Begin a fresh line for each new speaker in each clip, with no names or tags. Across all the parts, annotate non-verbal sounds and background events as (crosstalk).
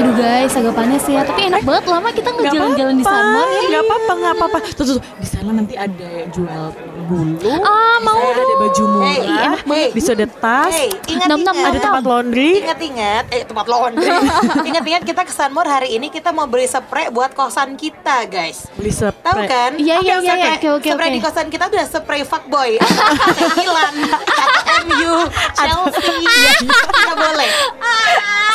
Aduh guys, agak panas ya. Tapi enak banget lama kita nggak jalan-jalan di summer.
ya nggak apa-apa nggak apa-apa tuh, tuh, tuh, di sana nanti ada jual bulu
Ah,
di
mau
sana ada baju murah
Oh. Hey, enak banget.
bisa ada tas
Hey,
Nam-nam,
ingat-ingat.
ada tempat laundry
Ingat-ingat, eh tempat
(laughs)
laundry. Ingat-ingat kita ke Sanmur hari ini kita mau beli spray buat kosan kita, guys.
beli sepre
Tahu kan?
Iya, iya,
Oke,
iya,
oke,
iya. Oke, oke,
Spray
oke.
di kosan kita udah spray fuckboy. (laughs) Milan,
(laughs)
MU, Chelsea. Kita boleh.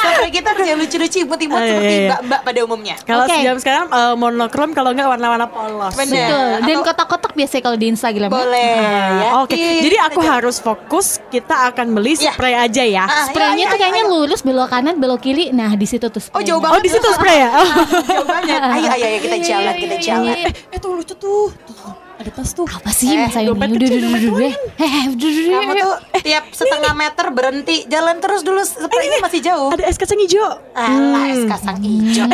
Spray kita udah yang lucu-lucu, imut-imut
Ah, iya,
seperti
iya.
mbak-mbak pada umumnya.
kalau
Oke.
jam sekarang eh, monokrom kalau nggak warna-warna polos
Bener.
Ya.
Betul. Dan
Iya, Atau-
kotak-kotak biasanya kalau di Instagram. ya.
Boleh. ya.
Ah, Oke,
Iya, iya,
jadi
iya,
aku
betul.
harus fokus. Kita akan beli
Iya.
spray aja ya.
Ah,
Spraynya
iya,
tuh
iya,
kayaknya
iya.
lurus belok kanan belok kiri. Nah di situ tuh.
Oh,
spraynya.
jauh
Oh
banget. Ah.
di situ spray ya? Oh. (laughs)
Jauh banget. Ayo, ayo, ayo kita
Iya, iya,
jalan,
iya,
kita
iya,
jalan.
iya.
Eh tuh lucu tuh. Tuh, tuh, ada tas tuh.
Apa sih
Eh,
Mas Ayu
dompet
ini? Udah,
kecil,
udah,
dompet
udah, udah. Eh, eh, udah, udah,
Kamu
udah.
tuh tiap setengah meter berhenti jalan terus dulu sepertinya masih jauh.
Ada es kacang hijau. Hmm,
Alah, es kacang (laughs) hijau.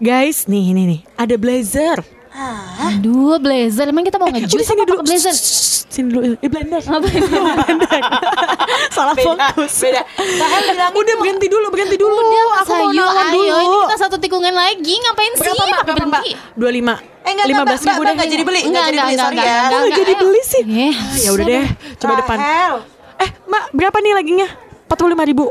Guys, nih nih nih, ada blazer.
Hah? Eh,
Aduh, blazer. Emang kita mau
Udah
ngejus
sini
apa
dulu.
pakai blazer?
Shh, shh, Sini dulu. Eh blender.
Apa ini?
(laughs)
(laughs)
Blender. Salah
Beda,
fokus.
beda. Sahel bilang
Udah berhenti dulu, berhenti dulu.
Mas
aku mau
Ayu,
nahan
ayo,
dulu.
ini kita satu tikungan lagi. Ngapain sih?
Berapa, Mbak?
Pakai
Berapa, Mbak?
berhenti.
25.
Eh, enggak, enggak,
15
enggak,
ribu
enggak,
deh.
enggak jadi beli, enggak
Enggak,
jadi
enggak,
beli,
enggak,
sorry
enggak,
ya.
enggak,
Kok
enggak,
jadi
ayo.
beli sih?
Eh, Ah,
Ya udah deh, coba depan.
Sahel.
Eh, Mbak, berapa nih laginya? 45 ribu.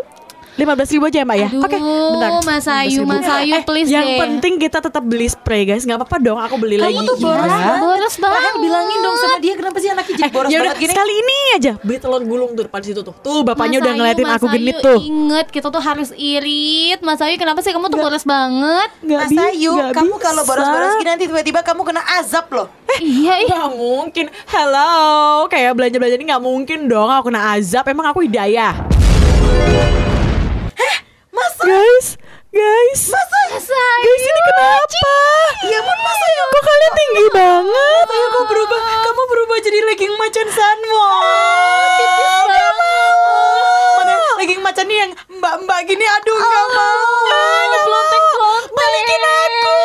15 ribu aja ya Mbak ya?
Aduh,
Oke, bentar.
Mas Ayu,
15.000.
Mas Ayu,
Eh,
please
Yang
deh.
penting kita tetap beli spray guys. Gak apa-apa dong, aku beli lagi.
Kamu tuh
Iya.
boros banget.
Boros
Sahel
banget.
bilangin dong sama dia kenapa sih anak
Eh,
hijau boros
ya udah,
banget gini.
sekali ini aja beli telur gulung tuh depan situ tuh. Tuh bapaknya
Mas
udah
Ayu,
ngeliatin
Mas
aku
Ayu,
genit tuh.
Ingat, kita tuh harus irit. Mas Ayu, kenapa sih kamu tuh boros banget?
Nggak
Mas
bi-
Ayu,
nggak
kamu
bisa.
kalau boros-boros gini nanti tiba-tiba kamu kena azab loh.
Iya, ih.
Gak mungkin. Hello, kayak belanja-belanja ini gak mungkin dong aku kena azab. Emang aku hidayah.
Masa?
Guys, guys.
Masa?
Guys, ini kenapa?
Ya ampun, Mas Ayu.
Kok kalian tinggi banget? Ah.
Ayu, kok berubah? Kamu berubah jadi legging macan Sanmo.
banget.
Mana legging macan nih yang mbak-mbak gini, aduh
Ah.
nggak mau. Ah,
Pelontek-pelontek.
Balikin aku.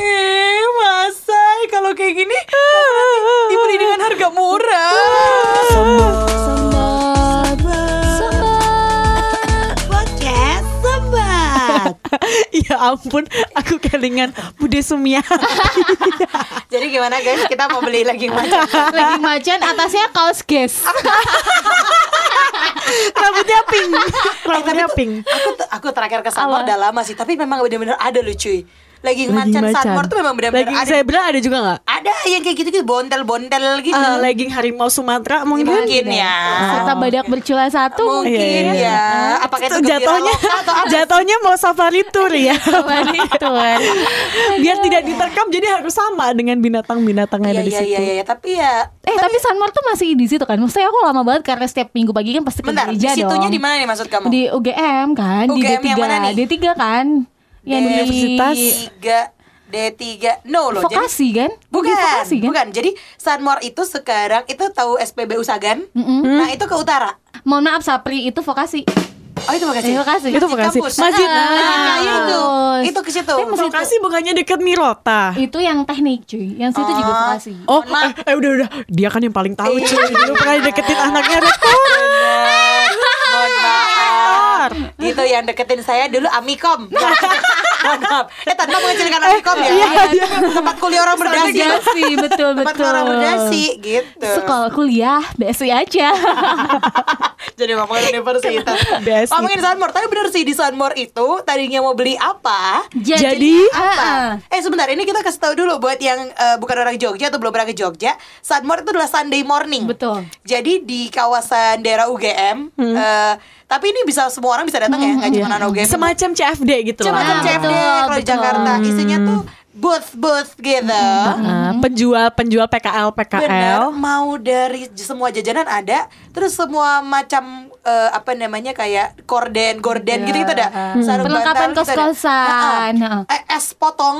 Eh, Masai, kalau kayak gini kamu
Ah.
nanti dibeli dengan harga murah.
Sambat.
(laughs)
Sambat.
Podcast sebat.
ya ampun, aku kelingan Bude Sumiati.
(laughs) Jadi gimana guys, kita mau beli legging (laughs) macan.
Lagi macan atasnya kaos guys.
Ah.
Rambutnya pink. Rambutnya
Eh, Tapi tuh,
pink.
Aku tuh- aku terakhir ke Sanmor
Apa?
udah lama sih, tapi memang benar-benar ada lucu. Legging macan Sanmor tuh memang benar-benar
Legging
ada.
zebra ada juga nggak?
Ada yang kayak gitu-gitu bontel-bontel
Eh,
gitu.
Ah,
legging harimau Sumatera mungkin.
mungkin ya.
Serta badak bercula satu
Mungkin
Iya, iya,
ya. Apakah itu
Tuh,
gembira
jatuhnya
loka atau apa?
jatuhnya mau safari tour
(laughs)
ya.
iya.
Tuan, tuan.
Biar tidak diterkam jadi harus sama dengan binatang-binatang yang
Iya
ada di
iya iya
situ.
iya, tapi ya
Eh tapi Sanmar tuh masih di situ kan? Maksudnya aku lama banget karena setiap minggu pagi kan pasti ke
bentar,
gereja dong.
situnya di mana nih maksud kamu?
Di UGM kan, di
UGM
D3.
yang mana nih?
D3 kan? Yang di
Universitas.
D3 D3. No loh. jadi-
vokasi kan? Di
Bukan,
vokasi kan?
bukan. Jadi Sanmor itu sekarang itu tahu SPBU Sagan.
Hmm.
Nah, itu ke utara.
Mohon maaf Sapri itu vokasi.
Oh, itu makasih.
Eh, vokasi.
Itu vokasi. Masjid.
Nah,
Nah,
itu.
bagus.
Itu ke situ.
Tapi masih-
Lokasi bukannya deket Mirota.
Itu yang teknik cuy, yang situ juga vokasi.
Ah. Oh,
Mohon maaf.
eh, eh, udah udah, dia kan yang paling tahu
Iya.
cuy. Dulu pernah
(laughs)
deketin anaknya rektor.
Bener. Mohon maaf. Gitu Iya. yang deketin saya dulu Amikom. Mohon maaf. Eh tanpa mengecilkan Amikom ya.
Iya, iya.
Tempat kuliah orang berdasi.
Berdasi, betul
Tempat
betul.
kuliah orang berdasi gitu.
Sekolah kuliah BSI aja.
Jadi ngomongin universitas.
Basi.
Ngomongin Sunmore, tapi bener sih di Sunmore itu tadinya mau beli apa?
Jadi,
ah, ah.
Eh sebentar, ini kita kasih tahu dulu buat yang eh, bukan orang Jogja atau belum pernah ke Jogja. Sunmore itu adalah Sunday morning.
Betul.
Jadi di kawasan daerah UGM, eh, tapi ini bisa semua orang bisa datang ya, nggak cuma anak UGM.
Semacam CFD gitu
Cuma
lah.
kan
Nah,
CFD
betul,
kalau di
betul. Hmm.
Jakarta isinya tuh booth booth gitu.
Nah, penjual penjual PKL PKL.
Bener, mau dari j- semua jajanan ada, terus semua macam eh, apa namanya kayak
Iya.
korden, gorden gitu gitu ada.
Hmm.
Sarung
Perlengkapan
bantal gitu ada.
kos-kosan.
Nah, eh, es potong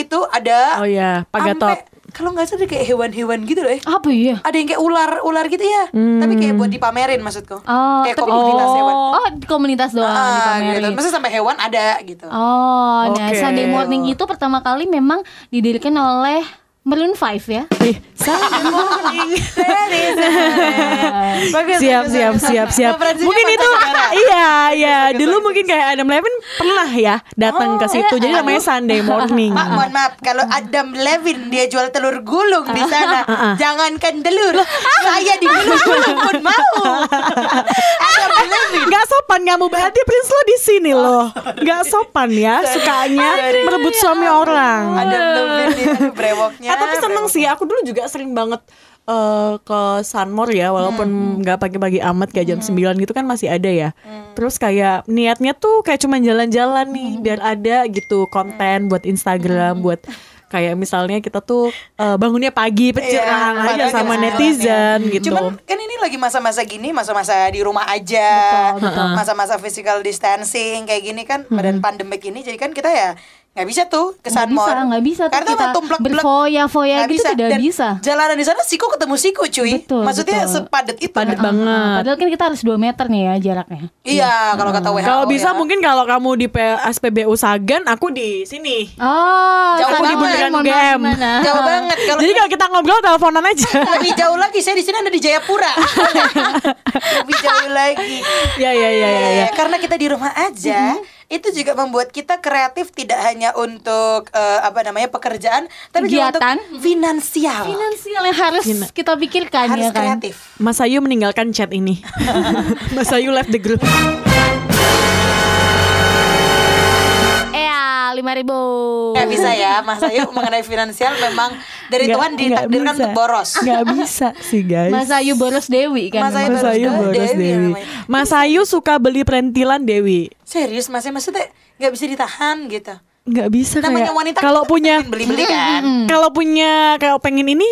itu ada.
Oh iya, pagatot.
Ampe- Kalau nggak salah dia kayak hewan-hewan gitu loh. ya.
Apa ya?
Ada yang kayak ular-ular gitu ya.
Hmm.
Tapi kayak buat dipamerin maksudku.
Oh,
kayak
tapi-
komunitas hewan.
Oh, di komunitas doang
Ah,
dipamerin.
gitu. Maksudnya sampai hewan ada gitu.
Oh, nah
Oke.
Sunday morning itu pertama kali memang didirikan oleh Maroon 5 ya.
Ih, Sunday (laughs) morning.
Bagus,
(laughs)
siap
bagus,
siap
bagus.
siap siap.
Referensinya
Mungkin
Pantai
itu
Negara.
(laughs) iya iya Iya, dulu mungkin kayak Adam Levin pernah ya datang
Oh,
ke situ.
iya.
Jadi namanya
(laughs)
Sunday morning.
Mak, mohon maaf kalau Adam Levin dia jual telur gulung di
Ah,
sana, jangankan telur, saya digulung-gulung pun mau. Adam Levin.
Gak sopan kamu berarti Prince lo di sini
Oh,
loh. Gak sopan ya sukanya merebut
Ya
suami orang.
Adam Levin itu brewoknya.
Ah,
Eh, tapi seneng sih aku dulu juga sering banget eh, ke Sunmore ya
Hmm.
walaupun nggak pagi-pagi amat kayak jam 9 gitu kan masih ada ya terus kayak niatnya tuh kayak cuman jalan-jalan nih
Hmm.
biar ada gitu konten buat Instagram buat kayak misalnya kita tuh eh, bangunnya pagi pecerang
Iya,
aja
padahal
sama
kita
netizen
sebenarnya.
gitu
Cuman kan ini lagi masa-masa gini, masa-masa di rumah aja, Nah, masa-masa physical distancing kayak gini kan, badan pandemik ini, jadi kan kita ya nggak bisa tuh kesan
Hmm. Nggak bisa, nggak bisa tuh
Karena
kita berfoya-foya gitu tidak bisa.
Jalanan di sana siku ketemu siku cuy.
Betul,
Maksudnya
betul.
sepadet itu.
Padet
kan?
banget.
Padahal kan kita harus 2 meter nih ya jaraknya.
Iya, kalau kata WHO.
kalau bisa
ya.
mungkin kalau kamu di P- SPBU Sagan aku di sini
Oh,
Jauh
sana
di bundaran
mohon
UGM.
maaf, gimana?
jauh banget kalau
jadi kalau kita ngobrol teleponan aja
(laughs) lebih jauh lagi saya di sini ada di
(laughs)
Jayapura. lebih jauh lagi.
ya ya ya ya, ya.
Eh, Karena kita di rumah aja,
Mm-hmm.
itu juga membuat kita kreatif tidak hanya untuk eh, apa namanya pekerjaan, tapi
Kegiatan.
juga untuk finansial.
Finansial yang harus kita pikirkan
Harus
ya kan.
kreatif.
Mas Ayu meninggalkan chat ini. Mas Ayu left the group.
Iya, 5000.
Gak bisa ya, Mas Ayu mengenai finansial memang dari
Oh. Nggak-
Tuhan
nggak
ditakdirkan
bisa.
untuk boros.
Nggak bisa sih guys.
Mas Ayu boros Dewi kan.
Mas Ayu
Mas Ayu
Boros
boros
Dewi
Dewi.
namanya.
Mas Ayu suka beli perintilan Dewi.
Serius Mas Ayu maksudnya nggak bisa ditahan gitu.
Nggak bisa
Namanya
kayak
wanita
kalau
kita
punya Mm-hmm.
pengen beli-beli kan.
kalau punya kalau pengen ini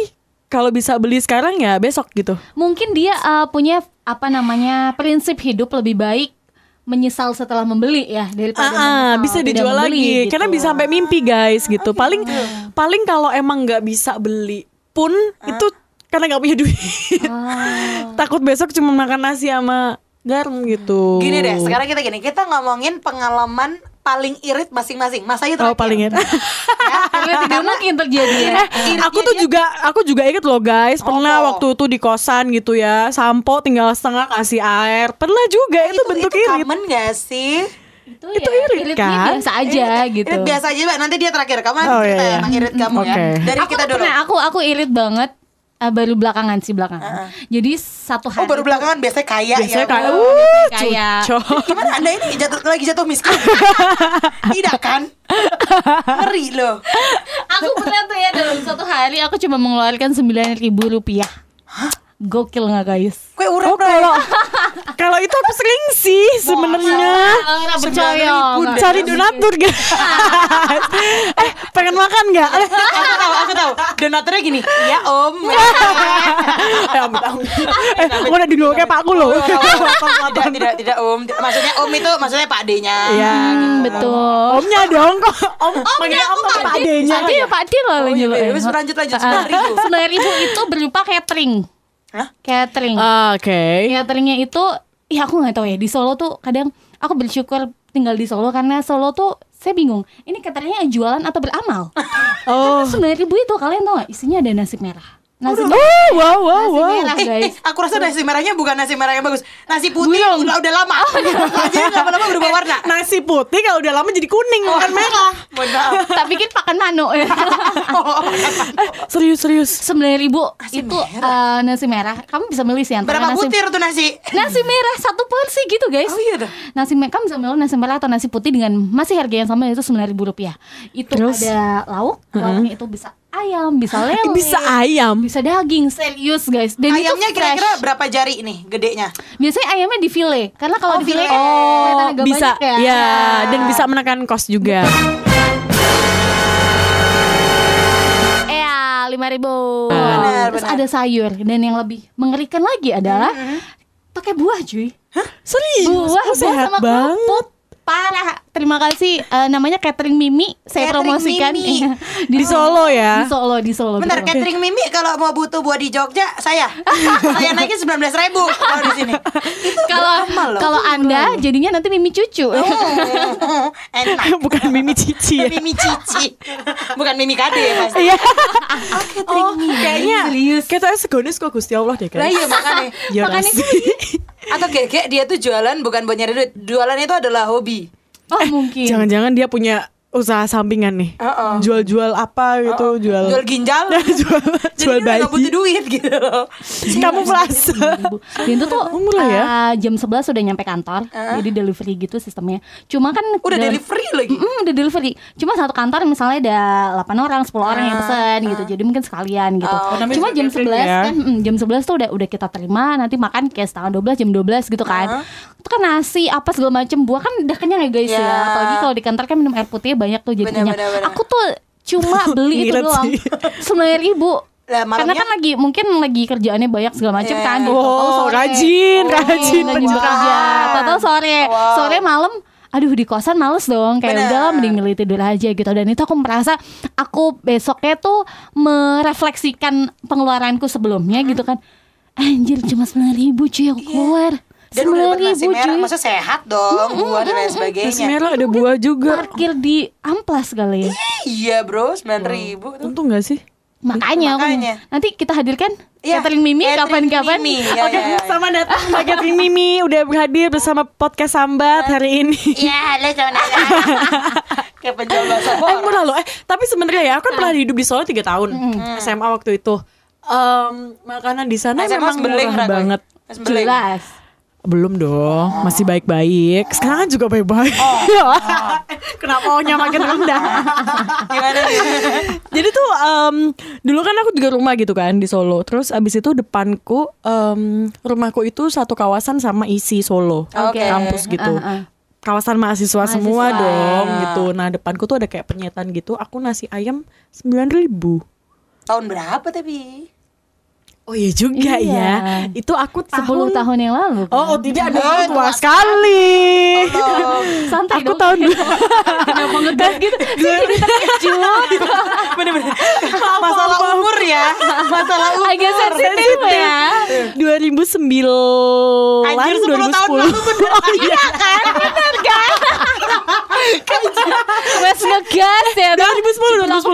kalau bisa beli sekarang ya besok gitu.
Mungkin dia eh, punya apa namanya prinsip hidup lebih baik menyesal setelah membeli ya daripada
Ah, ah,
menyesal
bisa
tidak
dijual
membeli
lagi
gitu.
karena bisa sampai mimpi guys gitu paling paling kalau emang nggak bisa beli pun itu karena nggak punya duit (laughs) takut besok cuma makan nasi sama garam gitu
Gini deh, sekarang kita gini, kita ngomongin pengalaman paling irit masing-masing. Mas Ayu
Oh
terakhir.
paling
(laughs)
enak.
Ya,
Ah, karena tidak mungkin terjadi ya.
(laughs) iritnya
Ah, aku tuh
dia-
juga aku juga inget loh guys pernah
Apa?
waktu itu di kosan gitu ya sampo tinggal setengah kasih air pernah juga itu, bentuk irit
common gak sih?
Itu,
Itu
ya,
irit,
iritnya
kan?
biasa aja gitu.
Irit biasa aja, Mbak. Nanti dia terakhir. Kamu nanti
Oh, iya,
cerita
iya.
tentang irit kamu ya.
Oke.
Dari
aku
kita
tuh
dulu.
pernah aku aku irit banget eh, baru belakangan sih belakangan. Jadi satu hari
Ah, Oh, baru belakangan biasanya kaya
biasanya
ya.
kayak
Allah.
uh
kayak-
cucok
(laughs) Gimana Anda ini jatuh, lagi jatuh
(laughs)
miskin? Tidak kan? Ngeri loh.
aku pernah tuh ya dalam satu hari aku cuma mengeluarkan sembilan ribu rupiah. Gokil nggak guys?
Kue
Oh
urap
kalau kalau itu aku sering sih sebenarnya
Ah, Orang percaya.
9.000
nggak?
cari donatur
(laughs)
guys. eh pengen makan nggak?
(laughs) Aku tahu, aku tahu. Donaturnya gini. Ya Om.
(laughs) eh ampun ampun. Eh gua udah dulu kayak pak aku loh.
Iya.
tidak, tidak, tidak Om. Maksudnya Om itu maksudnya Pak D-nya.
Iya.
Hmm, betul.
Omnya dong kok. Om panggilnya om
aku
apa
Pak
pak adenya?
Pak D ya Pak D loh
Oh, iya,
nyuruh.
iya. Wes, lanjut, lanjut. 9.000.
Sembilan ribu itu berupa catering.
Hah?
Catering.
Ah,
Oke.
iya.
Cateringnya itu, ya aku nggak tahu ya. Di Solo tuh kadang aku bersyukur tinggal di Solo karena Solo tuh saya bingung. Ini cateringnya jualan atau beramal?
(laughs)
Oh.
Sembilan ribu itu kalian tau gak? Isinya ada nasi merah. Nasi merah.
Oh, wow wow
Nasi
wow.
merah
Eh, eh,
guys.
aku rasa nasi merahnya bukan nasi merah yang bagus. Nasi putih udah, udah
(laughs)
lama.
Oh, iya.
Jadi lama-lama berubah warna.
Nasi putih kalau udah lama jadi kuning
Oh,
bukan merah.
Mohon
(laughs)
maaf. Oh,
Tak pikir pakan mano ya.
(laughs)
Eh, Serius serius.
Sembilan ribu
Nasi
itu eh, nasi merah. Kamu bisa milih sih antara
Berapa
nasi
butir tuh nasi?
Nasi merah satu porsi gitu guys.
Oh iya dah.
Nasi merah kamu bisa milih nasi merah atau nasi putih dengan masih harga yang sama yaitu sembilan ribu rupiah. Itu
Terus?
ada lauk, lauknya itu bisa ayam,
(laughs)
bisa lele,
Eh, Bisa ayam.
ya, bisa daging. Serius guys. Dan itu
Ayamnya
fresh.
kira-kira berapa jari nih gedenya?
biasanya ayamnya di file karena kalau di file
file.
kelihatan
Oh,
agak
bisa
banyak
ya. dan bisa menekan kos juga.
Iya, lima ribu.
Ah.
Benar,
Terus
benar. Mm-hmm.
ada sayur dan yang lebih mengerikan lagi adalah pakai buah cuy.
Serius.
buah,
Oh,
buah sama kerupuk parah terima kasih Eh, namanya catering Mimi saya
Catering
promosikan
Mimi. Oh.
Iya.
Di Solo ya.
di Solo di Solo
Bentar,
betul.
catering Mimi kalau mau butuh buah di Jogja,
(laughs)
saya. saya naikin 19 ribu kalau di sini. Itu
kalau
beramal loh. Oh,
kalau anda jadinya nanti Mimi cucu (laughs)
Hmm, enak.
(laughs) Bukan Mimi Cici
Iya.
ya.
Mimi Cici. Bukan Mimi Kade ya pasti.
Iya.
Catering Mimi.
Oh,
Kayaknya kita segonis kok Gusti Allah deh kan.
Lah iya makanya.
Ya
Makanya
makanya
Atau gege dia tuh jualan bukan buat nyari duit. Jualan itu adalah hobi. Eh,
Oh mungkin.
Jangan-jangan dia punya usaha sampingan nih.
Uh-uh.
Jual-jual apa gitu, (laughs) jual
Jual ginjal.
jual
Jadi
jual
dia nggak Iya. butuh
bayi.
duit gitu loh.
(laughs) Kamu merasa
Dan itu tuh
Murah ya?
eh, jam 11 sudah nyampe kantor. Jadi delivery gitu sistemnya. Cuma kan
Eh. Udah
dalam-
delivery lagi.
Mm, udah delivery. Cuma satu kantor misalnya ada 8 orang, 10 orang yang pesan gitu. Jadi mungkin sekalian gitu.
Ah, Oh, namanya
Cuma
juga
jam 11
catering ya.
kan mm, jam 11 tuh udah udah kita terima, nanti makan kayak setengah 12 jam 12 gitu
Ah.
kan. Itu kan nasi apa segala macem buah kan udah kenyang ya guys ya.
Ya.
Apalagi kalau di kantor kan minum air putih banyak tuh jadi kenyang.
Bener, bener, bener.
Aku tuh
(laughs)
cuma beli itu
Ngirit
doang.
sih.
9.000 ribu
Lah,
karena
malamnya-
kan lagi mungkin lagi kerjaannya banyak segala macem
Iya.
kan jadi tahu-tahu
Oh,
sore.
rajin, rajin,
rajin bekerja tahu sore
Wow.
sore malam aduh di kosan males dong kayak
Bener.
udah lah, mending milih tidur aja gitu dan itu aku merasa aku besoknya tuh merefleksikan pengeluaranku sebelumnya gitu kan anjir cuma sembilan ribu cuy aku keluar
Iya. Dan udah
sembilan
dapat nasi
ribu
merah,
cuy
masa sehat dong, buah dan lain
Nasi
sebagainya.
merah ada buah juga.
parkir di amplas kali ya
Iya bro, sembilan ribu tuh.
Untung gak sih?
makanya, aku-
Makanya.
nanti kita hadirkan
Iya,
catering mimi
catering
kapan-kapan
Mimi, ya, ya, ya.
Sama datang
(laughs)
Mbak Catherine Mimi udah berhadir bersama podcast Sambat hari ini.
Iya, halo sebenarnya. Kayak penjual bahasa
Eh murah loh. Eh tapi sebenarnya ya aku
Iya.
kan pernah hidup di Solo 3 tahun
Mm-hmm.
SMA waktu itu. Em, makanan di sana memang murah banget.
jelas
Belum dong, masih baik-baik. Sekarang kan juga baik-baik. Oh. (laughs) Kenapa ohnya makin rendah?
Gimana?
(laughs) Jadi tuh em, dulu kan aku juga rumah gitu kan di Solo. Terus abis itu depanku em, rumahku itu satu kawasan sama isi Solo,
Oke.
kampus gitu.
Ah, ah.
Kawasan mahasiswa,
Mahasiswa.
semua dong gitu. Nah depanku tuh ada kayak penyetan gitu. Aku nasi ayam sembilan ribu.
Tahun berapa tapi?
Oh iya juga
Iya.
ya. Itu aku tahun.
10 tahun yang lalu kan?
Oh, oh tidak ada Oh, tua sekali.
santai
Aku
dong.
tahun
(laughs) kenapa ngegas gitu
Oh,
(laughs) Bener-bener. Masalah umur ya. Masalah umur.
agak sensitif ya
2009
Anjir 10 tahun
2010.
lalu
(laughs)
bener kan? Iya kan?
wes ngegas ya Bang.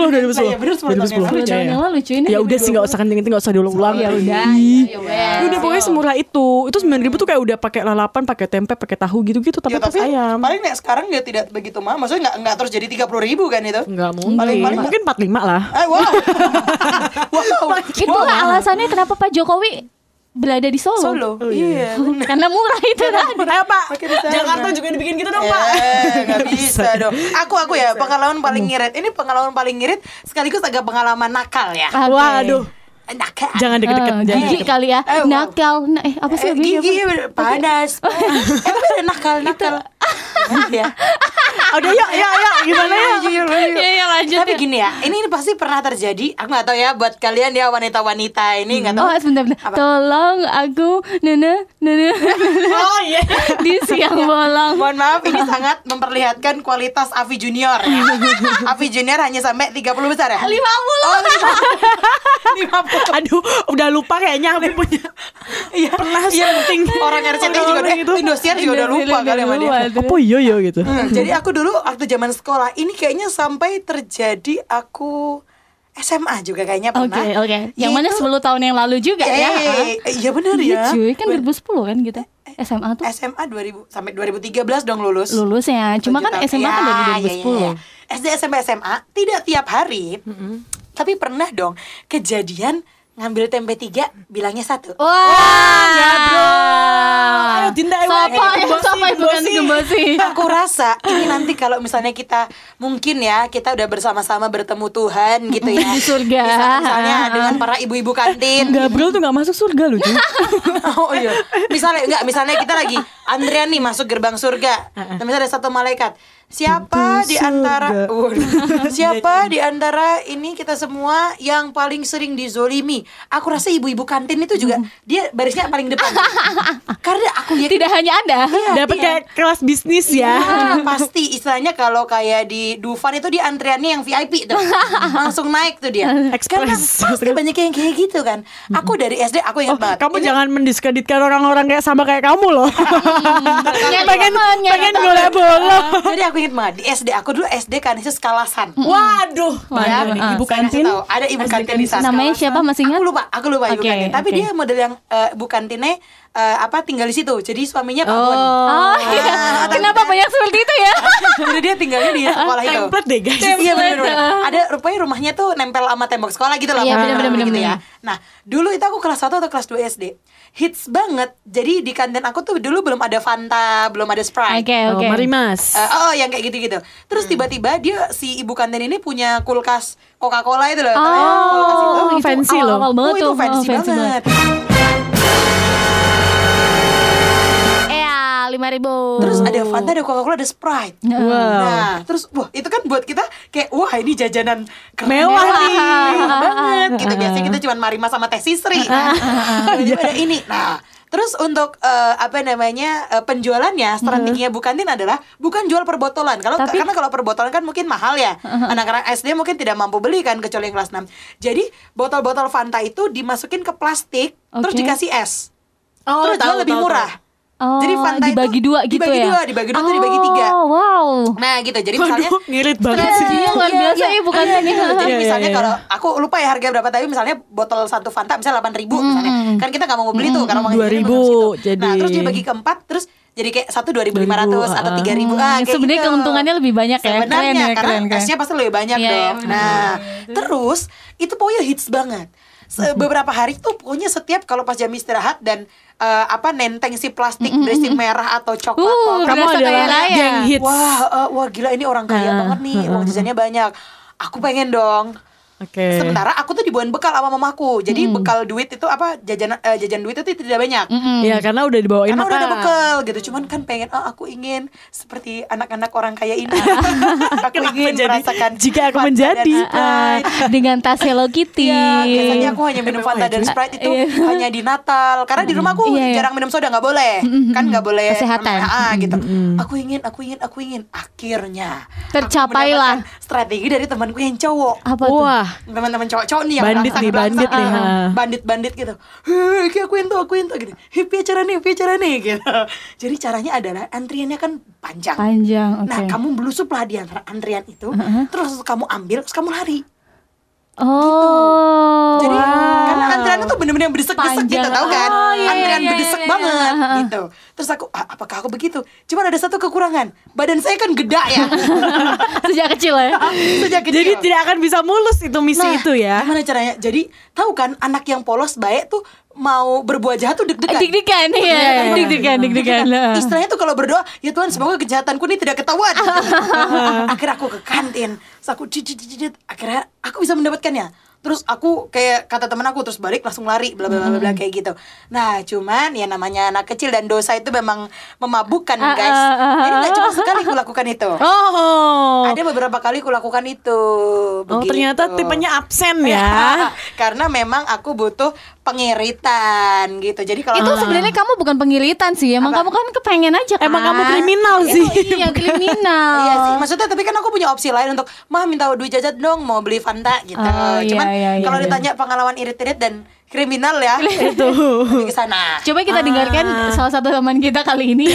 2010 2010
Iya, bener, 10 tahun yang
2010
10 tahun yang lalu cuy ini
Ya udah sih nggak
2020.
usah kenceng nggak usah diulang-ulang.
Iya,
ya udah
Ih.
ya wes.
Ya udah pokoknya semurah itu. Itu 9000 tuh kayak udah pakai lalapan, pakai tempe, pakai tahu gitu-gitu tapi
Ya,
pas
tapi
ayam.
paling nek sekarang ya tidak begitu mahal. Maksudnya nggak nggak terus jadi tiga puluh ribu kan itu?
Enggak mungkin.
Paling-paling-
mungkin 45 lah.
Ah,
(laughs)
wow. wow.
itulah alasannya kenapa Pak Jokowi berada di Solo,
Solo.
Oh,
Iya.
(laughs) karena murah itu tadi
Ayo Pak,
Pakai di sana.
juga dibikin gitu dong
Eh,
(laughs)
nggak bisa dong. Aku aku ya pengalaman paling
Hmm.
ngirit. Ini pengalaman paling ngirit sekaligus agak pengalaman nakal ya.
Oke.
Waduh,
Nakal.
Ah, jangan deket-deket.
Ah,
jangan.
gigi kali ya
Eh, wow.
nakal Na- eh apa sih
Eh,
lagunya?
gigi
(laughs)
panas. Eh, tapi ada nakal nakal. Ya.
Udah yuk, yuk, yuk. Gimana ya?
Iya, iya, lanjut, ya.
Tapi gini ya, ini, ini pasti pernah terjadi. Aku nggak tahu ya buat kalian ya wanita-wanita ini nggak tahu.
Oh sebentar bentar.
Apa?
Tolong aku Nana Nana
Oh iya.
Di siang bolong
(laughs) Mohon maaf ini sangat memperlihatkan kualitas Avi Junior ya. Avi Junior hanya sampai 30 besar ya?
50
Oh, (laughs) 50.
Aduh, udah lupa kayaknya aku punya.
Iya.
Pernah penting.
Orang RCTI juga udah,
Orang-orang itu.
eh, Indosiar juga udah lupa kali sama dia.
Apa iya ya gitu?
Hmm, jadi aku dulu waktu zaman sekolah ini kayaknya sampai terjadi aku SMA juga kayaknya
Oke
pernah.
oke Yang mana
Yaitu-
10 tahun yang lalu juga
Eh,
ya ah.
eh, Iya benar
Iya
ya. Eh,
cuy kan 2010 kan gitu SMA tuh
SMA 2000 sampai 2013 dong lulus.
lulusnya cuma kan
Tujuh tahun.
SMA kan
Ya,
dari
ya, ya,
2010
ya. SD SMP SMA tidak tiap hari. Tapi pernah dong kejadian ngambil tempe tiga bilangnya satu.
Oh, Wah,
iya,
ya, bro. Ayo, Dinda, ayo,
Sopo ya,
ayo, gembosi,
sopo yang bukan
gembosi.
gembosi.
(laughs) Aku rasa ini nanti kalau misalnya kita mungkin ya kita udah bersama-sama bertemu Tuhan gitu ya
(laughs) Di surga.
Bisa misalnya dengan para ibu-ibu kantin.
Gabriel tuh gak masuk surga loh cuy
(laughs) Oh iya. Misalnya enggak, misalnya kita lagi antrean nih masuk gerbang surga. Nah, misalnya ada satu malaikat. Siapa
Pintu
di
surga.
antara (laughs) Waduh. siapa di antara ini kita semua yang paling sering dizolimi? Aku rasa ibu-ibu kantin itu juga dia barisnya
(laughs)
paling depan. Karena aku yakin
Tidak hanya Anda.
Iya,
Dapat
iya.
kayak kelas bisnis ya
Ah, pasti istilahnya kalau kayak di Dufan itu dia antreannya yang VIP tuh. Langsung naik tuh dia. Karena
Express.
pasti banyak yang kayak gitu kan. Aku dari SD aku
Oh,
ingat banget.
kamu
Ini-
jangan mendiskreditkan orang-orang kayak sama kayak kamu loh
Iya.
Nyari
(laughs) pengen
teman, nyari
pengen
teman.
bola Kan bola
eh, Jadi aku ingat banget di SD aku dulu SD Kanisius Kalasan.
waduh
Waduh,
Bayangin,
ah.
ibu
Saya kasih
kantin
tahu, ada ibu kantin di sana.
Namanya siapa masih ingat?
Aku lupa, aku lupa
Oke,
bukannya. Tapi
oke.
dia model yang eh, bukan Tine eh, apa tinggal di situ. Jadi suaminya Pak Bon.
Oh, iya.
Ah,
Kenapa
tapi-
banyak seperti itu ya?
(laughs) Jadi dia tinggalnya di sekolah itu.
Template deh guys.
Iya
Ah, Template,
benar
ah.
Ada rupanya rumahnya tuh nempel sama tembok sekolah gitu lah.
Iya,
pokoknya
bener-bener,
gitu ya.
bener-bener.
Nah, dulu itu aku kelas 1 atau kelas 2 SD. Hits banget. Jadi di kantin aku tuh dulu belum ada Fanta, belum ada Sprite.
Oke,
Oh,
oke.
mari mas.
Eh, oh, yang kayak gitu-gitu. Terus tiba-tiba dia si ibu kantin ini punya kulkas Coca-Cola itu loh. Tahu ya, kulkas itu?
Oh,
itu fancy loh.
awal-awal Oh, banget
Oh, itu
tuh.
fancy,
Oh,
banget.
Iya, lima ribu.
Terus ada Fanta, ada Coca-Cola, ada Sprite.
Wow.
Nah, terus wah itu kan buat kita kayak wah ini jajanan keren
Mewah
nih,
nih.
(laughs)
mewah banget. Gitu biasanya kita cuma marima sama teh sisri. Nah,
(laughs) Iya.
tiba-tiba ada ini. Nah, terus untuk eh, apa namanya eh, penjualannya strateginya Bu Kantin adalah bukan jual per botolan. Kalau
Tapi-
karena kalau per botolan kan mungkin mahal ya. Anak-anak SD mungkin tidak mampu beli kan kecuali yang kelas 6. Jadi botol-botol Fanta itu dimasukin ke plastik terus
Oke.
dikasih es.
Oh,
terus
tahu,
jual lebih
tahu,
murah.
Oh,
Jadi Fanta itu
dibagi dua gitu
dibagi
ya?
dua, dibagi dua atau dibagi tiga.
Oh, wow.
Nah gitu, jadi misalnya
Waduh, ngirit banget sih.
Strateginya luar
Iya,
biasa
iya.
ya, bukan ini.
Jadi
(laughs) Iya, iya,
misalnya
iya.
kalau aku lupa ya harga berapa tapi misalnya botol satu Fanta misalnya 8 ribu misalnya kan kita nggak mau beli tuh karena mau
Dua
ngejajanin
ribu,
harus itu. nah
jadi-
terus dia bagi ke empat terus jadi kayak satu dua ribu lima ratus atau
ah.
tiga ribu gitu.
Hmm, sebenarnya keuntungannya lebih banyak ya. Keren
sebenarnya
ya,
karena
keren, keren.
esnya pasti lebih banyak
Iya, iya,
dong nah terus itu pokoknya hits banget Se- beberapa hari tuh pokoknya setiap kalau pas jam istirahat dan eh, apa nenteng si plastik dressing merah atau coklat
Uh,
pokoknya-
Kamu
Berasa
adalah
kaya raya.
geng hits.
Wah, eh, wah gila ini orang kaya
Nah,
banget nih, uang jajannya banyak. Aku pengen dong.
Oke. Hmm.
Sementara aku tuh dibawain bekal sama mamaku. Jadi bekal duit itu apa jajan eh, jajan duit itu tidak banyak.
Ya karena udah dibawain
Karena udah ada
makan.
bekal gitu. Cuman kan pengen oh aku ingin seperti anak-anak orang kaya
(laughs)
ini. aku
Kenapa
ingin
jadi,
merasakan
jika aku
Fanta
menjadi,
dan Sprite.
Ah, dengan tas Hello Kitty.
Iya, biasanya aku hanya minum Fanta dan Sprite itu
Iya.
hanya di Natal. Karena di rumah aku
Iya, iya.
jarang minum soda, nggak boleh. Kan nggak boleh
Kesehatan.
Ah, gitu. Aku ingin, aku ingin, aku ingin. Akhirnya aku
Tercapailah.
mendapatkan Strategi dari temanku yang cowok.
Apa tuh?
Wah,
Teman-teman cowok-cowok nih yang
Bandit
belakang-
nih,
belakang-
bandit nih,
Ah,
ha.
Bandit-bandit gitu. Hei, kayak akuin tuh, akuin tuh gitu. Hei, piye cara nih, piye cara nih gitu. Jadi caranya adalah antriannya kan panjang.
Panjang, oke.
Nah, kamu belusuplah di antara antrian itu, terus kamu ambil, terus kamu lari.
Oh.
Jadi
wow.
karena kan antriannya tuh bener-bener yang berdesek-desek
Panjang.
gitu tau kan
Oh, iya,
Antrian
iya, iya,
berdesek
iya, iya.
banget gitu Terus aku, "Ah, apakah aku begitu? Cuman ada satu kekurangan Badan saya kan geda
(laughs)
ya
Sejak kecil ya.
Sejak kecil
jadi tidak akan bisa mulus itu misi
Gitu ya?
itu ya.
Nah, Gimana caranya? Jadi tahu kan anak yang polos baik tuh Mau berbuat jahat tuh deg-degan
Dik-dikan
Iya,
ya. Dik-dikan, dik-dikan.
Nah, Istilahnya tuh kalau berdoa, ya Tuhan semoga kejahatanku ini tidak ketahuan. Gitu. akhirnya aku ke kantin, terus aku cicit cicit, akhirnya aku bisa mendapatkannya. Terus aku kayak kata temen aku terus balik langsung lari bla bla bla bla, bla, kayak gitu. Nah, cuman ya namanya anak kecil dan dosa itu memang memabukkan, guys.
ah, ah,
Jadi gak cuma sekali aku lakukan itu.
Oh.
Ada beberapa kali aku lakukan itu.
Oh,
Begitu.
ternyata tipenya absen (laughs) ya.
(laughs) Karena memang aku butuh pengiritan gitu. Jadi kalau
Itu sebenarnya kamu bukan pengiritan sih. Emang
Apa?
kamu kan kepengen aja kan.
Emang kamu kriminal
Itu
sih.
iya, kriminal.
Iya sih,
Oh.
maksudnya tapi kan aku punya opsi lain untuk mah minta duit jajan dong mau beli Fanta gitu.
Oh, iya,
Cuman
iya, iya,
kalau
iya.
ditanya pengalaman irit-irit dan kriminal
(laughs)
ya itu lebih ke sana.
Coba kita dengarkan salah satu teman kita kali ini.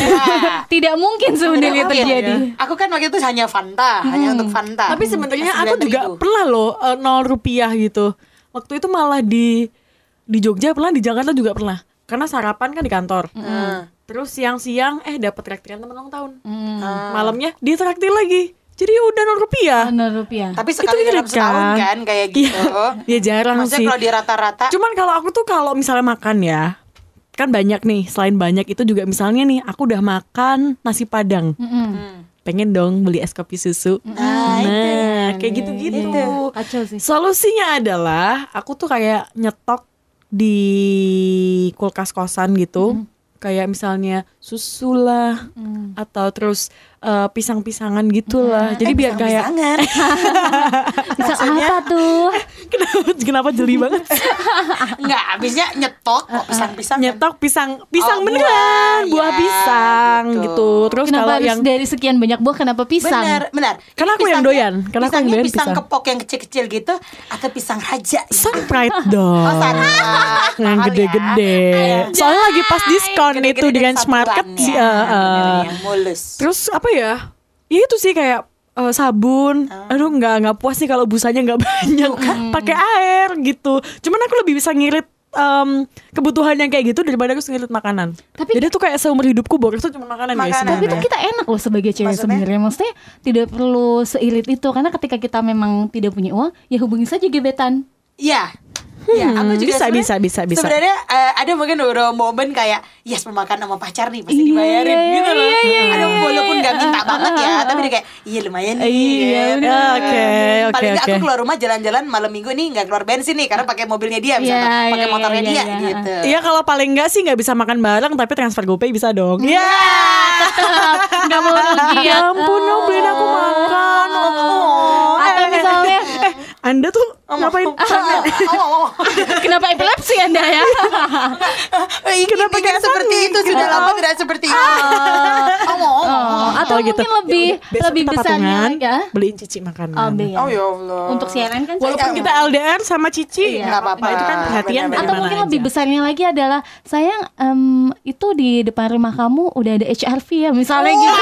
Tidak mungkin sebenarnya
Iya. Mungkin.
terjadi.
Aku kan waktu itu hanya Fanta, hanya untuk Fanta.
Hmm. Tapi sebenarnya
Masih
aku juga
9.000.
pernah loh eh, nol rupiah gitu. Waktu itu malah di di Jogja pernah, di Jakarta juga pernah. Karena sarapan kan di kantor.
Mm. Hmm.
Terus siang-siang eh dapat traktiran teman ulang tahun.
Hmm.
Hmm. Ah.
Malamnya dia traktir lagi. Jadi ya udah nol rupiah.
Benar rupiah.
Ah, tapi sekali
itu
dalam
irit
setahun
kan?
kan kayak gitu.
Iya, (laughs) ya jarang
Maksudnya
sih.
kalau di rata-rata
Cuman kalau aku tuh kalau misalnya makan ya, kan banyak nih. Selain banyak itu juga misalnya nih, aku udah makan nasi padang.
hmm.
Pengen dong beli es kopi susu. Nah, kayak gitu-gitu.
Kacau sih.
Solusinya adalah aku tuh kayak nyetok di kulkas kosan gitu. Kayak misalnya susu lah atau terus eh, pisang-pisangan gitulah. Jadi biar kayak (laughs)
(laughs) Sangat.
Bisa apa tuh?
kenapa kenapa jeli banget.
Enggak, habisnya nyetok
Ah,
kok pisang-pisang. kan.
nyetok pisang pisang
Oh, buah.
beneran buah
Ya,
pisang
gitu.
gitu (laughs) terus
kenapa
kalau
harus
yang
dari sekian banyak buah kenapa pisang?
Benar, benar.
Karena
Ini
aku yang
pisangnya-
doyan, karena aku yang
pisangnya
doyan
pisang,
pisang.
kepok yang kecil-kecil gitu atau pisang raja. gitu. yang
sunpride dong
Oh, sana.
yang
Mahal
gede-gede
ya.
soalnya lagi pas diskon
Gede-gede
itu di
dan
Range Market
satuan
sih
ya.
eh, eh.
Yang mulus.
terus apa ya ya itu sih kayak eh, sabun
Ah.
aduh nggak nggak puas nih kalau busanya nggak (laughs) banyak pakai air gitu cuman aku lebih bisa ngirit em, kebutuhan yang kayak gitu daripada aku ngirit makanan
Tapi-
jadi tuh kayak seumur hidupku boros tuh cuma makanan, guys
Tapi
Nah,
Makanan. ya.
sebenarnya.
itu kita enak loh sebagai cewek
Maksudnya?
sebenarnya. Maksudnya tidak perlu seirit itu karena ketika kita memang tidak punya uang, ya hubungi saja gebetan.
Iya. Ya, aku juga
bisa,
sebenarnya-
bisa, bisa, bisa.
Sebenarnya eh, ada mungkin udah momen kayak yes memakan sama pacar nih pasti
Iya,
dibayarin
iya,
gitu loh.
iya, iya,
Ada
iya,
walaupun gak minta
iya,
banget ya,
iya,
tapi dia kayak iya lumayan nih.
Iya,
gitu.
bener. Oke, oke,
Paling nggak aku
oke.
keluar rumah jalan-jalan malam minggu nih nggak keluar bensin nih karena pakai mobilnya dia misalnya,
Iya,
pakai
iya,
motornya
iya,
dia
iya.
gitu.
Iya kalau paling nggak sih nggak bisa makan bareng tapi transfer GoPay bisa dong.
Mm.
Iya.
Enggak Ah,
(laughs)
mau rugi ya.
Ya ampun, no beliin aku makan. Oh, oh.
eh,
Atau misalnya
Eh, Anda tuh ngapain?
Oh, oh, oh.
kenapa epilepsi Anda
(laughs)
ya?
Eh, ini-
Kenapa
ini nggak
kayak
seperti
Sunny?
itu sudah lama tidak seperti itu. Oh, oh,
Oh,
oh.
atau
Oh, gitu.
mungkin lebih
Besok
lebih
kita
besarnya
patungan, Hmm.
lagi ya.
beliin cici makanan.
Oh, be-
Oh, ya Allah.
Untuk CNN kan
Walaupun
saya-
kita LDR sama cici,
Iya.
nggak apa-apa. Itu kan perhatian Nah,
Benar-benar.
dari
atau
mana
mungkin
aja.
lebih besarnya lagi adalah sayang em, itu di depan rumah kamu udah ada HRV ya misalnya
Oh,
gitu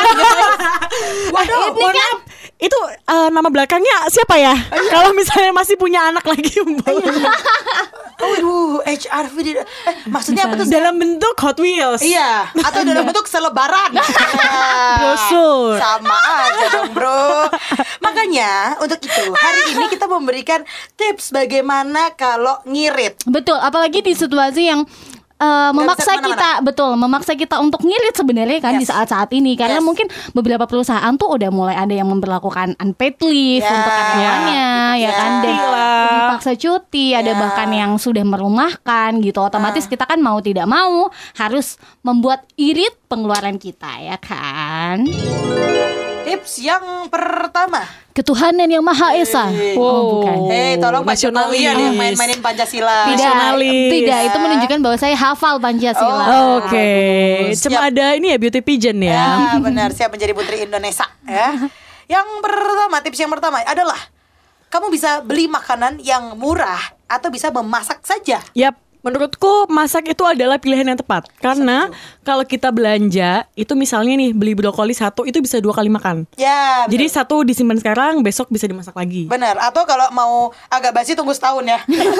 Waduh, mohon maaf. Itu eh, nama belakangnya siapa ya? Kalau misalnya masih punya anak lagi, (laughs)
Iya.
Waduh, HRV di- eh, maksudnya apa tuh?
ya?
dalam bentuk Hot Wheels.
Iya, atau dalam bentuk selebaran. Nah,
(laughs) Brosur.
Sama aja dong, Bro. Makanya untuk itu hari ini kita memberikan tips bagaimana kalau ngirit.
betul apalagi di situasi yang eh, memaksa
kemana-mana.
kita betul memaksa kita untuk ngirit sebenarnya kan di
Yes.
saat-saat ini karena
Yes.
mungkin beberapa perusahaan tuh udah mulai ada yang memperlakukan unpaid leave
Ya.
untuk karyawannya
Ya.
ya kan dan
Cuti lah.
dipaksa cuti ada
Ya. Ah.
bahkan yang sudah merumahkan gitu otomatis kita kan mau tidak mau harus membuat irit pengeluaran kita ya kan
Tips yang pertama.
ketuhanan yang maha esa
Hey.
oh bukan
Hei, tolong Pak Jokowi
nasionalis.
yang main-mainin Pancasila.
tidak
Nasionalis.
tidak itu menunjukkan bahwa saya hafal pancasila
Oh.
Oke, Nah, cuma
Siap.
ada ini ya beauty pigeon
Iya.
ya.
Ya, benar, siap menjadi putri Indonesia, ya. Yang pertama, tips yang pertama adalah kamu bisa beli makanan yang murah atau bisa memasak saja.
Yap, menurutku masak itu adalah pilihan yang tepat karena kalau kita belanja itu misalnya nih beli brokoli satu itu bisa dua kali
Iya,
makan.
Ya,
Jadi satu disimpan sekarang, besok bisa dimasak lagi.
Benar, atau kalau mau agak basi tunggu setahun ya.
Iya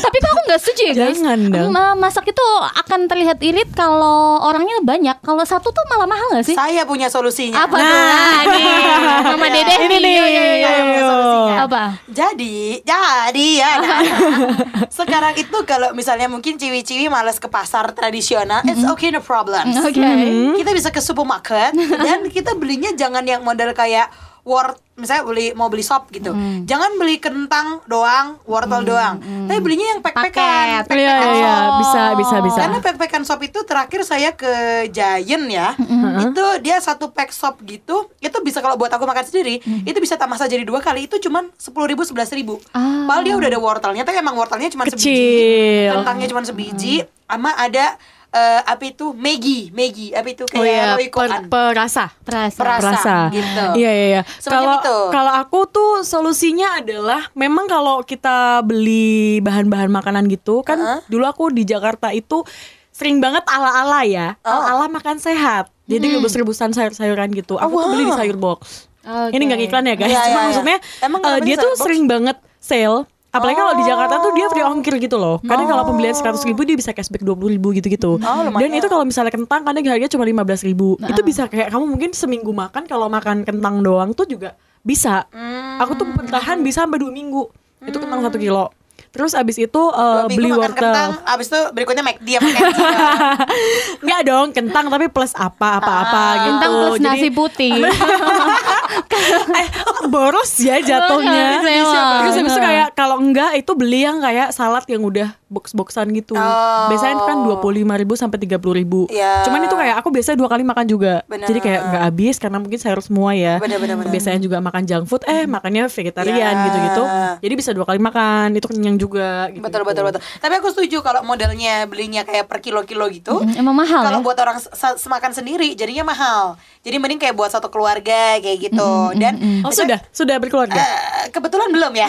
tapi itu aku nggak setuju ya guys
Jangan dong.
Ma- masak itu akan terlihat irit kalau orangnya banyak kalau satu tuh malah mahal nggak sih
Saya Iya. punya solusinya.
apa tuh Ah, nih Iya, mama dedeh
Nah, Ini nih.
Yo, yo, yo,
Saya
yo.
punya solusinya.
apa
Jadi, jadi ya. anak-anak. (laughs) Sekarang itu kalau misalnya mungkin ciwi-ciwi malas ke pasar tradisional, it's
Mm-hmm.
okay no problem.
oke
Mm-hmm.
Kita bisa ke
(laughs)
supermarket dan kita belinya jangan yang model kayak wort misalnya beli mau beli sop gitu.
Mm-hmm.
Jangan beli kentang doang, wortel doang. Tapi belinya yang
Paket.
pek-pekan.
Iya, iya, iya. bisa, bisa, bisa.
Oh. Karena pack-packan sop itu terakhir saya ke Giant ya. Itu dia satu pack sop gitu, itu bisa kalau buat aku makan sendiri, itu bisa tambah saja jadi dua kali itu cuman 10.000 ribu, 11 ribu.
Ah.
Padahal dia udah ada wortelnya, tapi emang wortelnya cuma sebiji.
Kecil.
Kentangnya cuma sebiji, sama ada eh, apa itu Maggi, Maggi, apa itu
Oh
kayak
iya,
roikokan.
per- perasa.
Perasa.
Perasa.
perasa
gitu.
Iya iya iya.
Semacam
Kalau
itu.
kalau aku tuh solusinya adalah memang kalau kita beli bahan-bahan makanan gitu kan
Heeh.
dulu aku di Jakarta itu sering banget ala-ala ya.
Oh.
Ala-ala makan sehat. Jadi rebus-rebusan sayur-sayuran gitu. Aku tuh
Oh,
beli di sayur box.
Oke.
Ini nggak iklan ya guys.
Iya,
Cuma
iya, iya.
maksudnya
Emang
eh,
namanya
dia tuh
sayur box?
sering banget sale. Apalagi kalau di Jakarta tuh dia
Oh.
free ongkir gitu loh. Kadang kalau pembelian 100 ribu dia bisa cashback 20 ribu gitu-gitu.
Oh, lumayan.
Dan itu kalau misalnya kentang kadang harganya cuma 15 ribu. Itu bisa kayak kamu mungkin seminggu makan kalau makan kentang doang tuh juga bisa.
Hmm.
Aku tuh bertahan bisa sampai 2 minggu. Itu kentang 1 kilo. Terus abis itu
Dua
eh,
minggu
beli
makan kentang,
wortel.
abis itu berikutnya McD sama KFC.
(laughs) Enggak dong, kentang tapi plus apa apa-apa
Ah.
gitu.
Kentang plus
Jadi-
nasi putih
eh, boros ya jatuhnya.
Boros, emang.
Terus habis itu kayak kalau enggak itu beli yang kayak salad yang udah box-boxan gitu.
Oh.
Biasanya itu kan 25.000 sampai 30.000.
Iya.
Cuman itu kayak aku biasanya dua kali makan juga.
Bener.
Jadi kayak enggak habis karena mungkin saya harus semua ya.
Bener, bener, bener.
Biasanya juga makan junk food eh makannya vegetarian
Iya.
gitu-gitu. Jadi bisa dua kali makan, itu kenyang juga gitu.
betul betul betul tapi aku setuju kalau modelnya belinya kayak per kilo kilo gitu
Mm, emang mahal
kalau
ya?
buat orang se- se- semakan sendiri jadinya mahal jadi mending kayak buat satu keluarga kayak gitu dan eh,
Oh, sudah,
misalnya,
sudah berkeluarga.
(laughs)
eh, kebetulan belum ya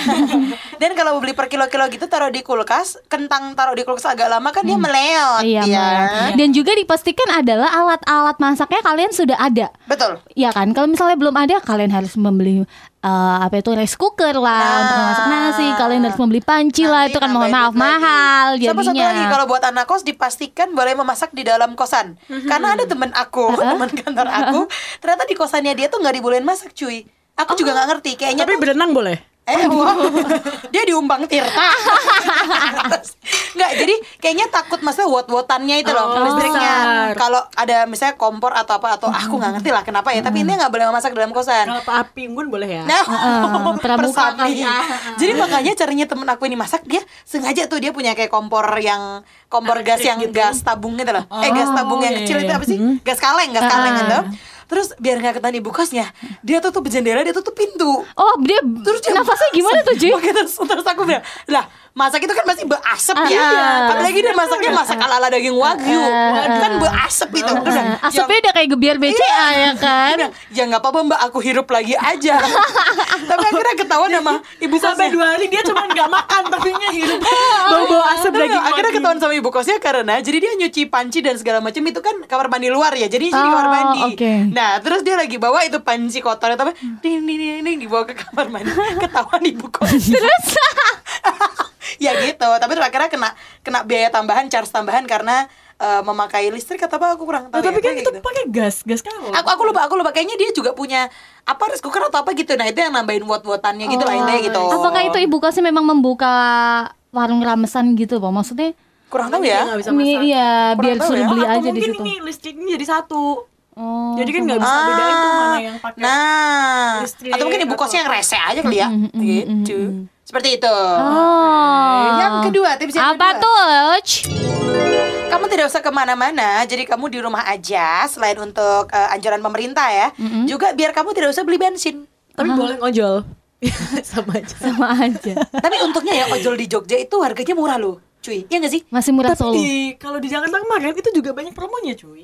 dan kalau beli per kilo kilo gitu taruh di kulkas ken- kentang taruh di kulkas agak lama kan dia meleot
Iya,
ya.
Mbak. Dan juga dipastikan adalah alat-alat masaknya kalian sudah ada.
Betul.
Ya kan, kalau misalnya belum ada, kalian harus membeli eh, apa itu rice cooker lah
Nah.
untuk masak nasi. Kalian harus membeli panci lah,
Nanti
itu kan mohon
nambahin
maaf
duit lagi.
mahal
Sama satu
jadinya.
lagi kalau buat anak kos dipastikan boleh memasak di dalam kosan.
Mm-hmm.
Karena ada temen aku, (laughs) temen kantor aku, ternyata di kosannya dia tuh nggak dibolehin masak, cuy.
Oh.
Aku juga nggak ngerti, kayaknya
Tapi
tuh-
berenang boleh.
Eh, wow. dia diumbang Tirta. Nggak, jadi kayaknya takut maksudnya wot-wotannya itu loh,
Oh,
listriknya.
besar.
Kalau ada misalnya kompor atau apa atau aku nggak ngerti lah kenapa ya, tapi ini nggak boleh masak dalam kosan.
Kalau api unggun boleh ya.
Nah,
Heeh, pramuka
(laughs)
kali.
persami.
Ah,
Jadi makanya caranya temen aku ini masak dia sengaja tuh dia punya kayak kompor yang kompor gas yang gas tabung gitu loh. eh gas tabung yang
iya,
kecil itu
iya.
apa sih? Gas kaleng, gas kaleng gitu. Terus biar nggak ketahuan ibu kosnya, dia tutup jendela, dia tutup pintu.
Oh, dia
Terus dia
nafasnya gimana tuh, Ji?
Makanya terus, terus aku bilang, "Lah, masak itu kan masih berasap ya."
Iya.
Apalagi dia
Ah,
masaknya masak ala-ala daging wagyu. kan berasap itu. Aku bilang,
Nah, Asapnya udah kayak gebiar BCA ya kan?
iya. Dia bilang, ya nggak apa-apa mbak aku hirup lagi
(laughs)
aja tapi akhirnya ketahuan sama ibu
Sampai
kosnya
dua hari dia cuma nggak makan, tapinya hidup
(laughs)
bau-bau asap
Tapi
lagi.
Iya, akhirnya ketahuan sama ibu kosnya karena jadi dia nyuci panci dan segala macam itu kan kamar mandi luar ya jadi di
Oh,
kamar mandi
oke.
nah terus dia lagi bawa itu panci kotor tapi ding ding ding ding dibawa ke kamar
(laughs)
mandi ketahuan ibu kosnya
Terus
(laughs) ya gitu tapi terus akhirnya kena kena biaya tambahan charge tambahan karena eh, memakai listrik atau apa aku kurang tahu
tapi
ya.
kan
Kayak
itu
gitu.
pakai gas, gas kaleng.
aku aku lupa aku lupa kayaknya dia juga punya apa rice cooker atau apa gitu nah itu yang nambahin wot wotannya gitu lah intinya gitu
Oh, apakah itu ibu kosnya memang membuka warung ramesan gitu, Pak? Maksudnya
kurang tahu
Dia
ya
nggak bisa
Nih,
masak.
iya,
Kurang
biar
tahu
suruh
ya.
beli
Atau
aja di
mungkin
situ.
ini listriknya jadi satu.
Oh,
jadi kan nggak bisa
Ah,
bedain tuh mana yang pakai.
nah
listrik
atau mungkin ibu
atau-
kosnya yang rese aja kali ya
Mm-hmm,
gitu seperti itu
Oh.
Yang kedua, tips yang
Apa
kedua.
tuh, Uch?
kamu tidak usah kemana-mana jadi kamu di rumah aja selain untuk eh, anjuran pemerintah ya
Mm-hmm.
juga biar kamu tidak usah beli bensin
Tapi boleh
(laughs)
ngojol. Sama aja.
Sama aja.
tapi untungnya ya ojol di Jogja itu harganya murah loh cuy iya gak sih
Masih murah
Tapi
Solo.
di kalau di Jakarta kemarin itu juga banyak promonya cuy.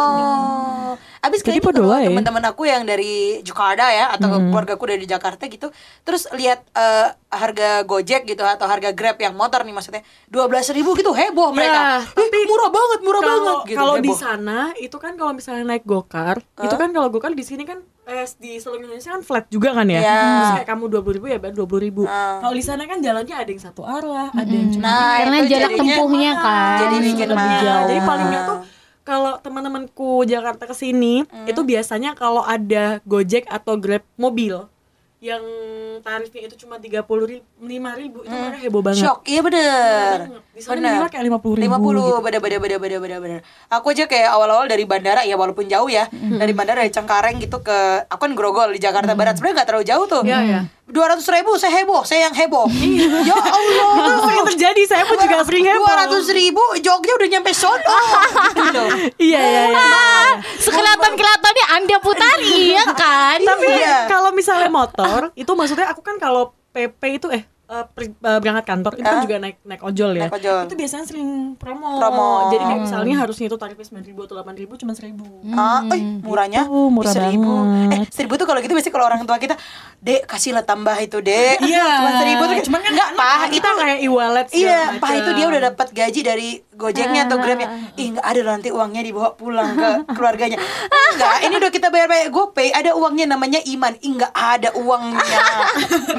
Oh, abis
Jadi ya.
kayaknya
podo
kalau
wae.
teman-teman aku yang dari Jakarta ya atau
Hmm.
keluargaku dari Jakarta gitu, terus lihat eh, harga Gojek gitu atau harga Grab yang motor nih maksudnya dua belas ribu gitu heboh mereka. Ih, murah banget, murah banget.
Iya, Kalau
Gitu,
kalau di
heboh.
sana itu kan kalau misalnya naik gokar, itu kan kalau gokar di sini kan eh, di seluruh Indonesia kan flat juga kan ya.
Iya.
Terus kayak kamu dua ribu ya, dua puluh ribu.
Ah.
Kalau di sana kan jalannya ada yang satu arah, ada
Hmm.
yang cuma
Nah,
Karena
itu
jarak
jadinya-
tempuhnya kan
jadi bikin
lebih
mahal.
jauh.
Jadi paling nggak tuh kalau teman-temanku Jakarta ke sini
Mm.
itu biasanya kalau ada Gojek atau Grab mobil yang tarifnya itu cuma tiga puluh lima ribu itu mereka heboh banget.
Mm. Shock, iya bener.
Di sana minimal kayak 50.000
lima
gitu.
puluh, bener bener bener bener bener bener. Aku aja kayak awal-awal dari bandara ya walaupun jauh ya, dari bandara dari Cengkareng gitu ke, aku kan Grogol di Jakarta Barat sebenarnya nggak terlalu jauh tuh.
Iya, iya.
Dua ratus ribu, saya heboh, saya yang heboh. (laughs) ya Allah.
Itu sering terjadi, saya pun juga sering heboh.
Dua ratus ribu, Jogja udah nyampe
(laughs)
sono. gitu loh.
Iya, iya, iya.
Ah, Sekelatan-kelatannya Anda putari (laughs) ya kan?
Tapi
Iya.
kalau misalnya motor itu maksudnya aku kan kalau PP itu eh eh, per- eh, berangkat kantor itu kan juga naik naik ojol ya.
Ah. Naik ojol.
Itu biasanya sering promo.
Promo. Hmm.
Jadi kayak misalnya harusnya itu tarifnya sembilan ribu atau delapan ribu cuma seribu.
Ah, eh, murahnya
Hmm, Gitu, murah
seribu.
banget.
Eh, seribu tuh kalau gitu biasanya kalau orang tua kita, dek kasih lah tambah itu dek.
Iya.
Cuma seribu tuh,
Cuman kan
nggak
anak
pah
kita
Ah, itu
kayak e-wallet segala
Iya, pah
macam. Ah,
itu dia udah dapat gaji dari gojeknya atau grabnya. Ih, nggak ada loh nanti uangnya dibawa pulang
(laughs)
ke keluarganya. Enggak, ini udah kita bayar pakai GoPay, ada uangnya namanya Iman. Ih, nggak ada
(laughs)
uangnya.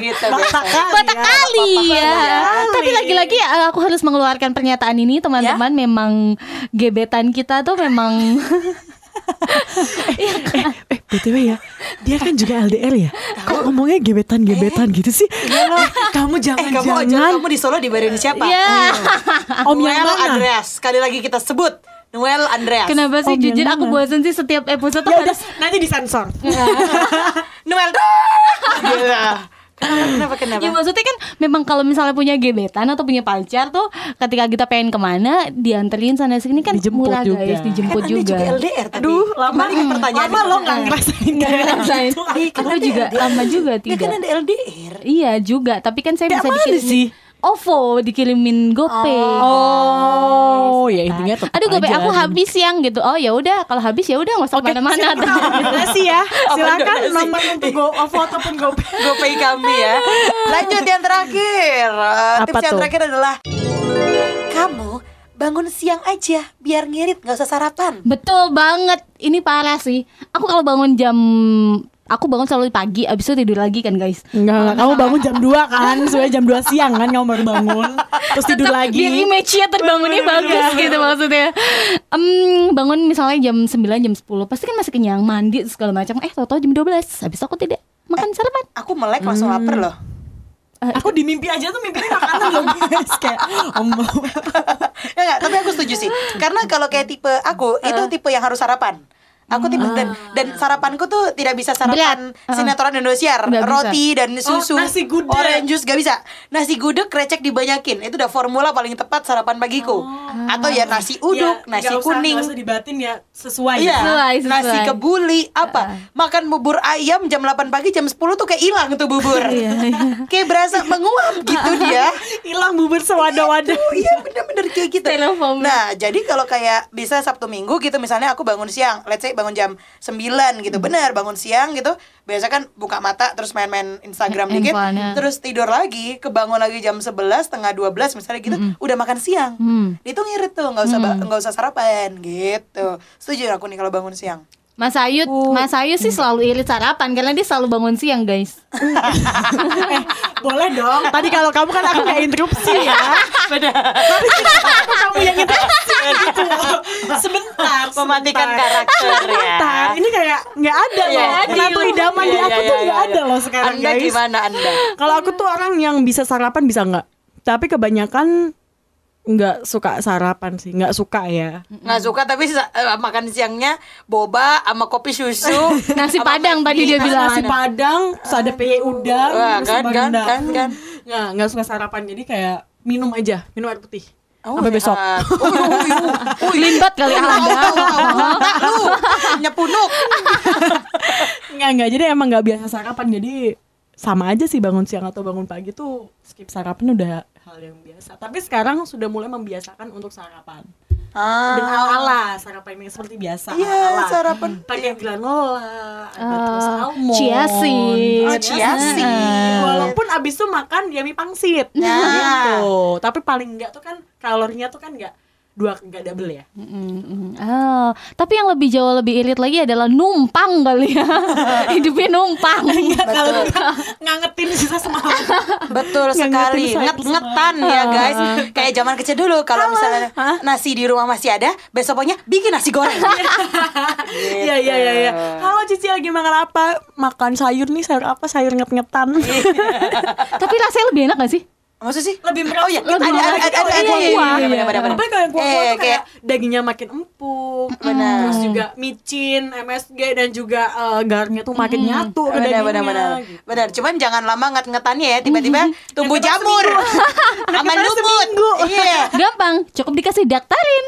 gitu. biasanya.
kan.
Patah kali ya. Tapi lagi-lagi eh, aku harus mengeluarkan pernyataan ini teman-teman memang gebetan kita tuh (laughs) memang
Eh, BTW ya, dia kan juga LDR ya. Kok ngomongnya gebetan-gebetan gitu sih? Eh, kamu
Iya, Eh, kamu
jangan-jangan
ojol kamu di Solo dibayarin siapa?
(laughs) ya.
Iya. Om yang
Noel
mana?
Andreas. Sekali lagi kita sebut Noel Andreas.
Kenapa sih
Om yang
jujur aku
mana?
bosan sih setiap episode tuh
Ya udah,
harus
nanti disensor.
(laughs) Hmm. Noel.
Iya.
Gila. Kenapa kenapa
(laughs)
kenapa?
Ya maksudnya kan memang kalau misalnya punya gebetan atau punya pacar tuh ketika kita pengen kemana dianterin sana sini kan
Dijemput
murah
juga.
guys dijemput
Anda
juga. (laughs)
LDR tapi.
Aduh, lama
Kembali ke pertanyaan.
Lama lo nggak ngerasain kayak
ngerasain.
gitu.
Ih, kamu juga lama juga
Ya kan
tidak.
ada LDR.
Iya juga, tapi kan saya
Tidak
bisa
malu
dikirimin
sih.
OVO, dikirimin GoPay.
Oh, ya intinya tetap
Aduh GoPay
aja.
aku habis yang gitu. Oh ya udah, kalau habis ya udah nggak usah kemana-mana.
Donasi ya. Silakan
donasi?
nomor untuk go OVO ataupun GoPay.
GoPay kami ya. Lanjut yang terakhir. Eh,
Apa
tips yang
tuh?
terakhir adalah
Kamu bangun siang aja biar ngirit nggak usah sarapan.
Betul banget. Ini parah sih. Aku kalau bangun jam aku bangun selalu pagi, abis itu tidur lagi kan guys.
Enggak, enggak. Kamu bangun jam 2 kan Sebenarnya jam 2 siang kan Kamu baru bangun Terus tidur
Tetap
lagi Iya.
Biar image-nya terbangunnya bagus gitu maksudnya. Em, bangun misalnya jam 9, jam 10, pasti kan masih kenyang, mandi segala macam. Eh, tau-tau jam 12. Habis itu aku tidak makan sarapan.
Aku melek langsung lapar
Hmm.
loh.
Aku di mimpi aja tuh mimpi makanan loh guys Kayak om
ya nggak, tapi aku setuju sih. Karena kalau kayak tipe aku itu tipe yang harus sarapan. Aku tipe dan, dan sarapanku tuh tidak bisa sarapan
Ah. Berat.
sinetron Indosiar,
Nggak bisa.
roti dan susu,
Oh, nasi gudeg.
orange juice gak bisa. Nasi gudeg krecek dibanyakin, itu udah formula paling tepat
Oh.
sarapan pagiku. Atau ya nasi uduk, nasi kuning.
dibatin ya Sesuai
Iya,
Sesuai, sesuai.
nasi kebuli apa? Makan bubur ayam jam 8 pagi jam 10 tuh kayak hilang tuh bubur.
Iya,
Iya.
kayak berasa menguap gitu dia.
Hilang bubur sewadah-wadah
Oh iya bener-bener kayak gitu
Xenophobia.
Nah jadi kalau kayak bisa Sabtu Minggu gitu Misalnya aku bangun siang Let's say bangun jam 9
Hmm.
gitu Bener bangun siang gitu Biasa kan buka mata Terus main-main Instagram
Eh,
dikit
handphone-nya.
Terus tidur lagi Kebangun lagi jam 11 Tengah 12 misalnya gitu Udah makan siang
Hmm.
Itu ngirit tuh Gak usah, ba- nggak usah sarapan gitu Setuju aku nih kalau bangun siang
Mas Ayu, Mas Ayu
Hmm.
sih selalu irit sarapan karena dia selalu bangun siang, guys.
Eh, boleh dong. Tadi kalau kamu kan aku nggak interupsi ya. Tapi kenapa aku kamu yang interupsi gitu loh. Sebentar,
Mematikan
sebentar.
karakter ya.
Sebentar, ini kayak nggak ada loh.
Iya,
Menantu idaman di aku tuh nggak ada loh sekarang
Anda
guys.
gimana Anda?
Kalau aku tuh orang yang bisa sarapan bisa nggak? Tapi kebanyakan nggak suka sarapan sih, nggak suka ya.
Nggak suka tapi sa- eh, makan siangnya boba sama kopi susu
(laughs) Nasi
sama
Padang tadi dia
mie.
bilang.
Nasi Padang, terus ada peye udang,
Wah,
terus
kan,
sambal
kan,
rendang.
kan, kan.
Nggak, nggak suka sarapan jadi kayak minum aja, minum air putih.
Oh,
Sampai besok. (laughs)
sehat. Oh, oh, oh, oh. iya,
Limbat kali ya.
Iya.
Anda.
Buntak lu Nyepunuk
Enggak, enggak. Jadi emang nggak biasa sarapan. Jadi sama aja sih bangun siang atau bangun pagi tuh skip sarapan udah hal yang biasa. Tapi sekarang sudah mulai membiasakan untuk sarapan.
Ah,
Dan ala-ala sarapan yang seperti biasa.
Iya,
ala-ala.
sarapan. Iya.
Pakai granola, ada terus
Eh,
almond,
chia seed.
ada
Oh, Chia seed.
Walaupun abis itu makan ya mie pangsit.
Nah.
Gitu. Tapi paling enggak tuh kan kalorinya tuh kan enggak dua enggak double ya.
Mm-mm. Mm, Oh, tapi yang lebih jauh lebih irit lagi adalah numpang kali
(laughs)
ya. Hidupnya numpang.
Iya.
Iya,
Kalau ngangetin sisa semalam.
(laughs) Betul
Nggak
sekali
ngerti,
nget ngetan ya guys
Ah.
kayak zaman kecil dulu kalau misalnya nasi di rumah masih ada besok pokoknya bikin nasi goreng Gitu.
Iya iya iya iya. Halo Cici lagi makan apa? Makan sayur nih, sayur apa? Sayur nget-ngetan.
Iya.
(laughs)
tapi rasanya lebih enak gak sih?
maksud sih
Lebih
oh iya ada
lebih
ada
merawat.
ada ada
Oh, iya,
ada-
iya,
iya,
iya.
benar, benar, benar.
Tapi kalau yang kuah-kuah
Eh,
tuh kayak dagingnya makin empuk,
Benar.
terus juga micin, MSG dan juga eh, garnya tuh makin nyatu ke
Hmm.
dagingnya.
benar benar benar
gitu.
benar cuman jangan lama nget ngetannya ya
(laughs)
tiba-tiba tumbuh jamur sama lumut iya
(laughs)
Gampang, cukup dikasih daktarin.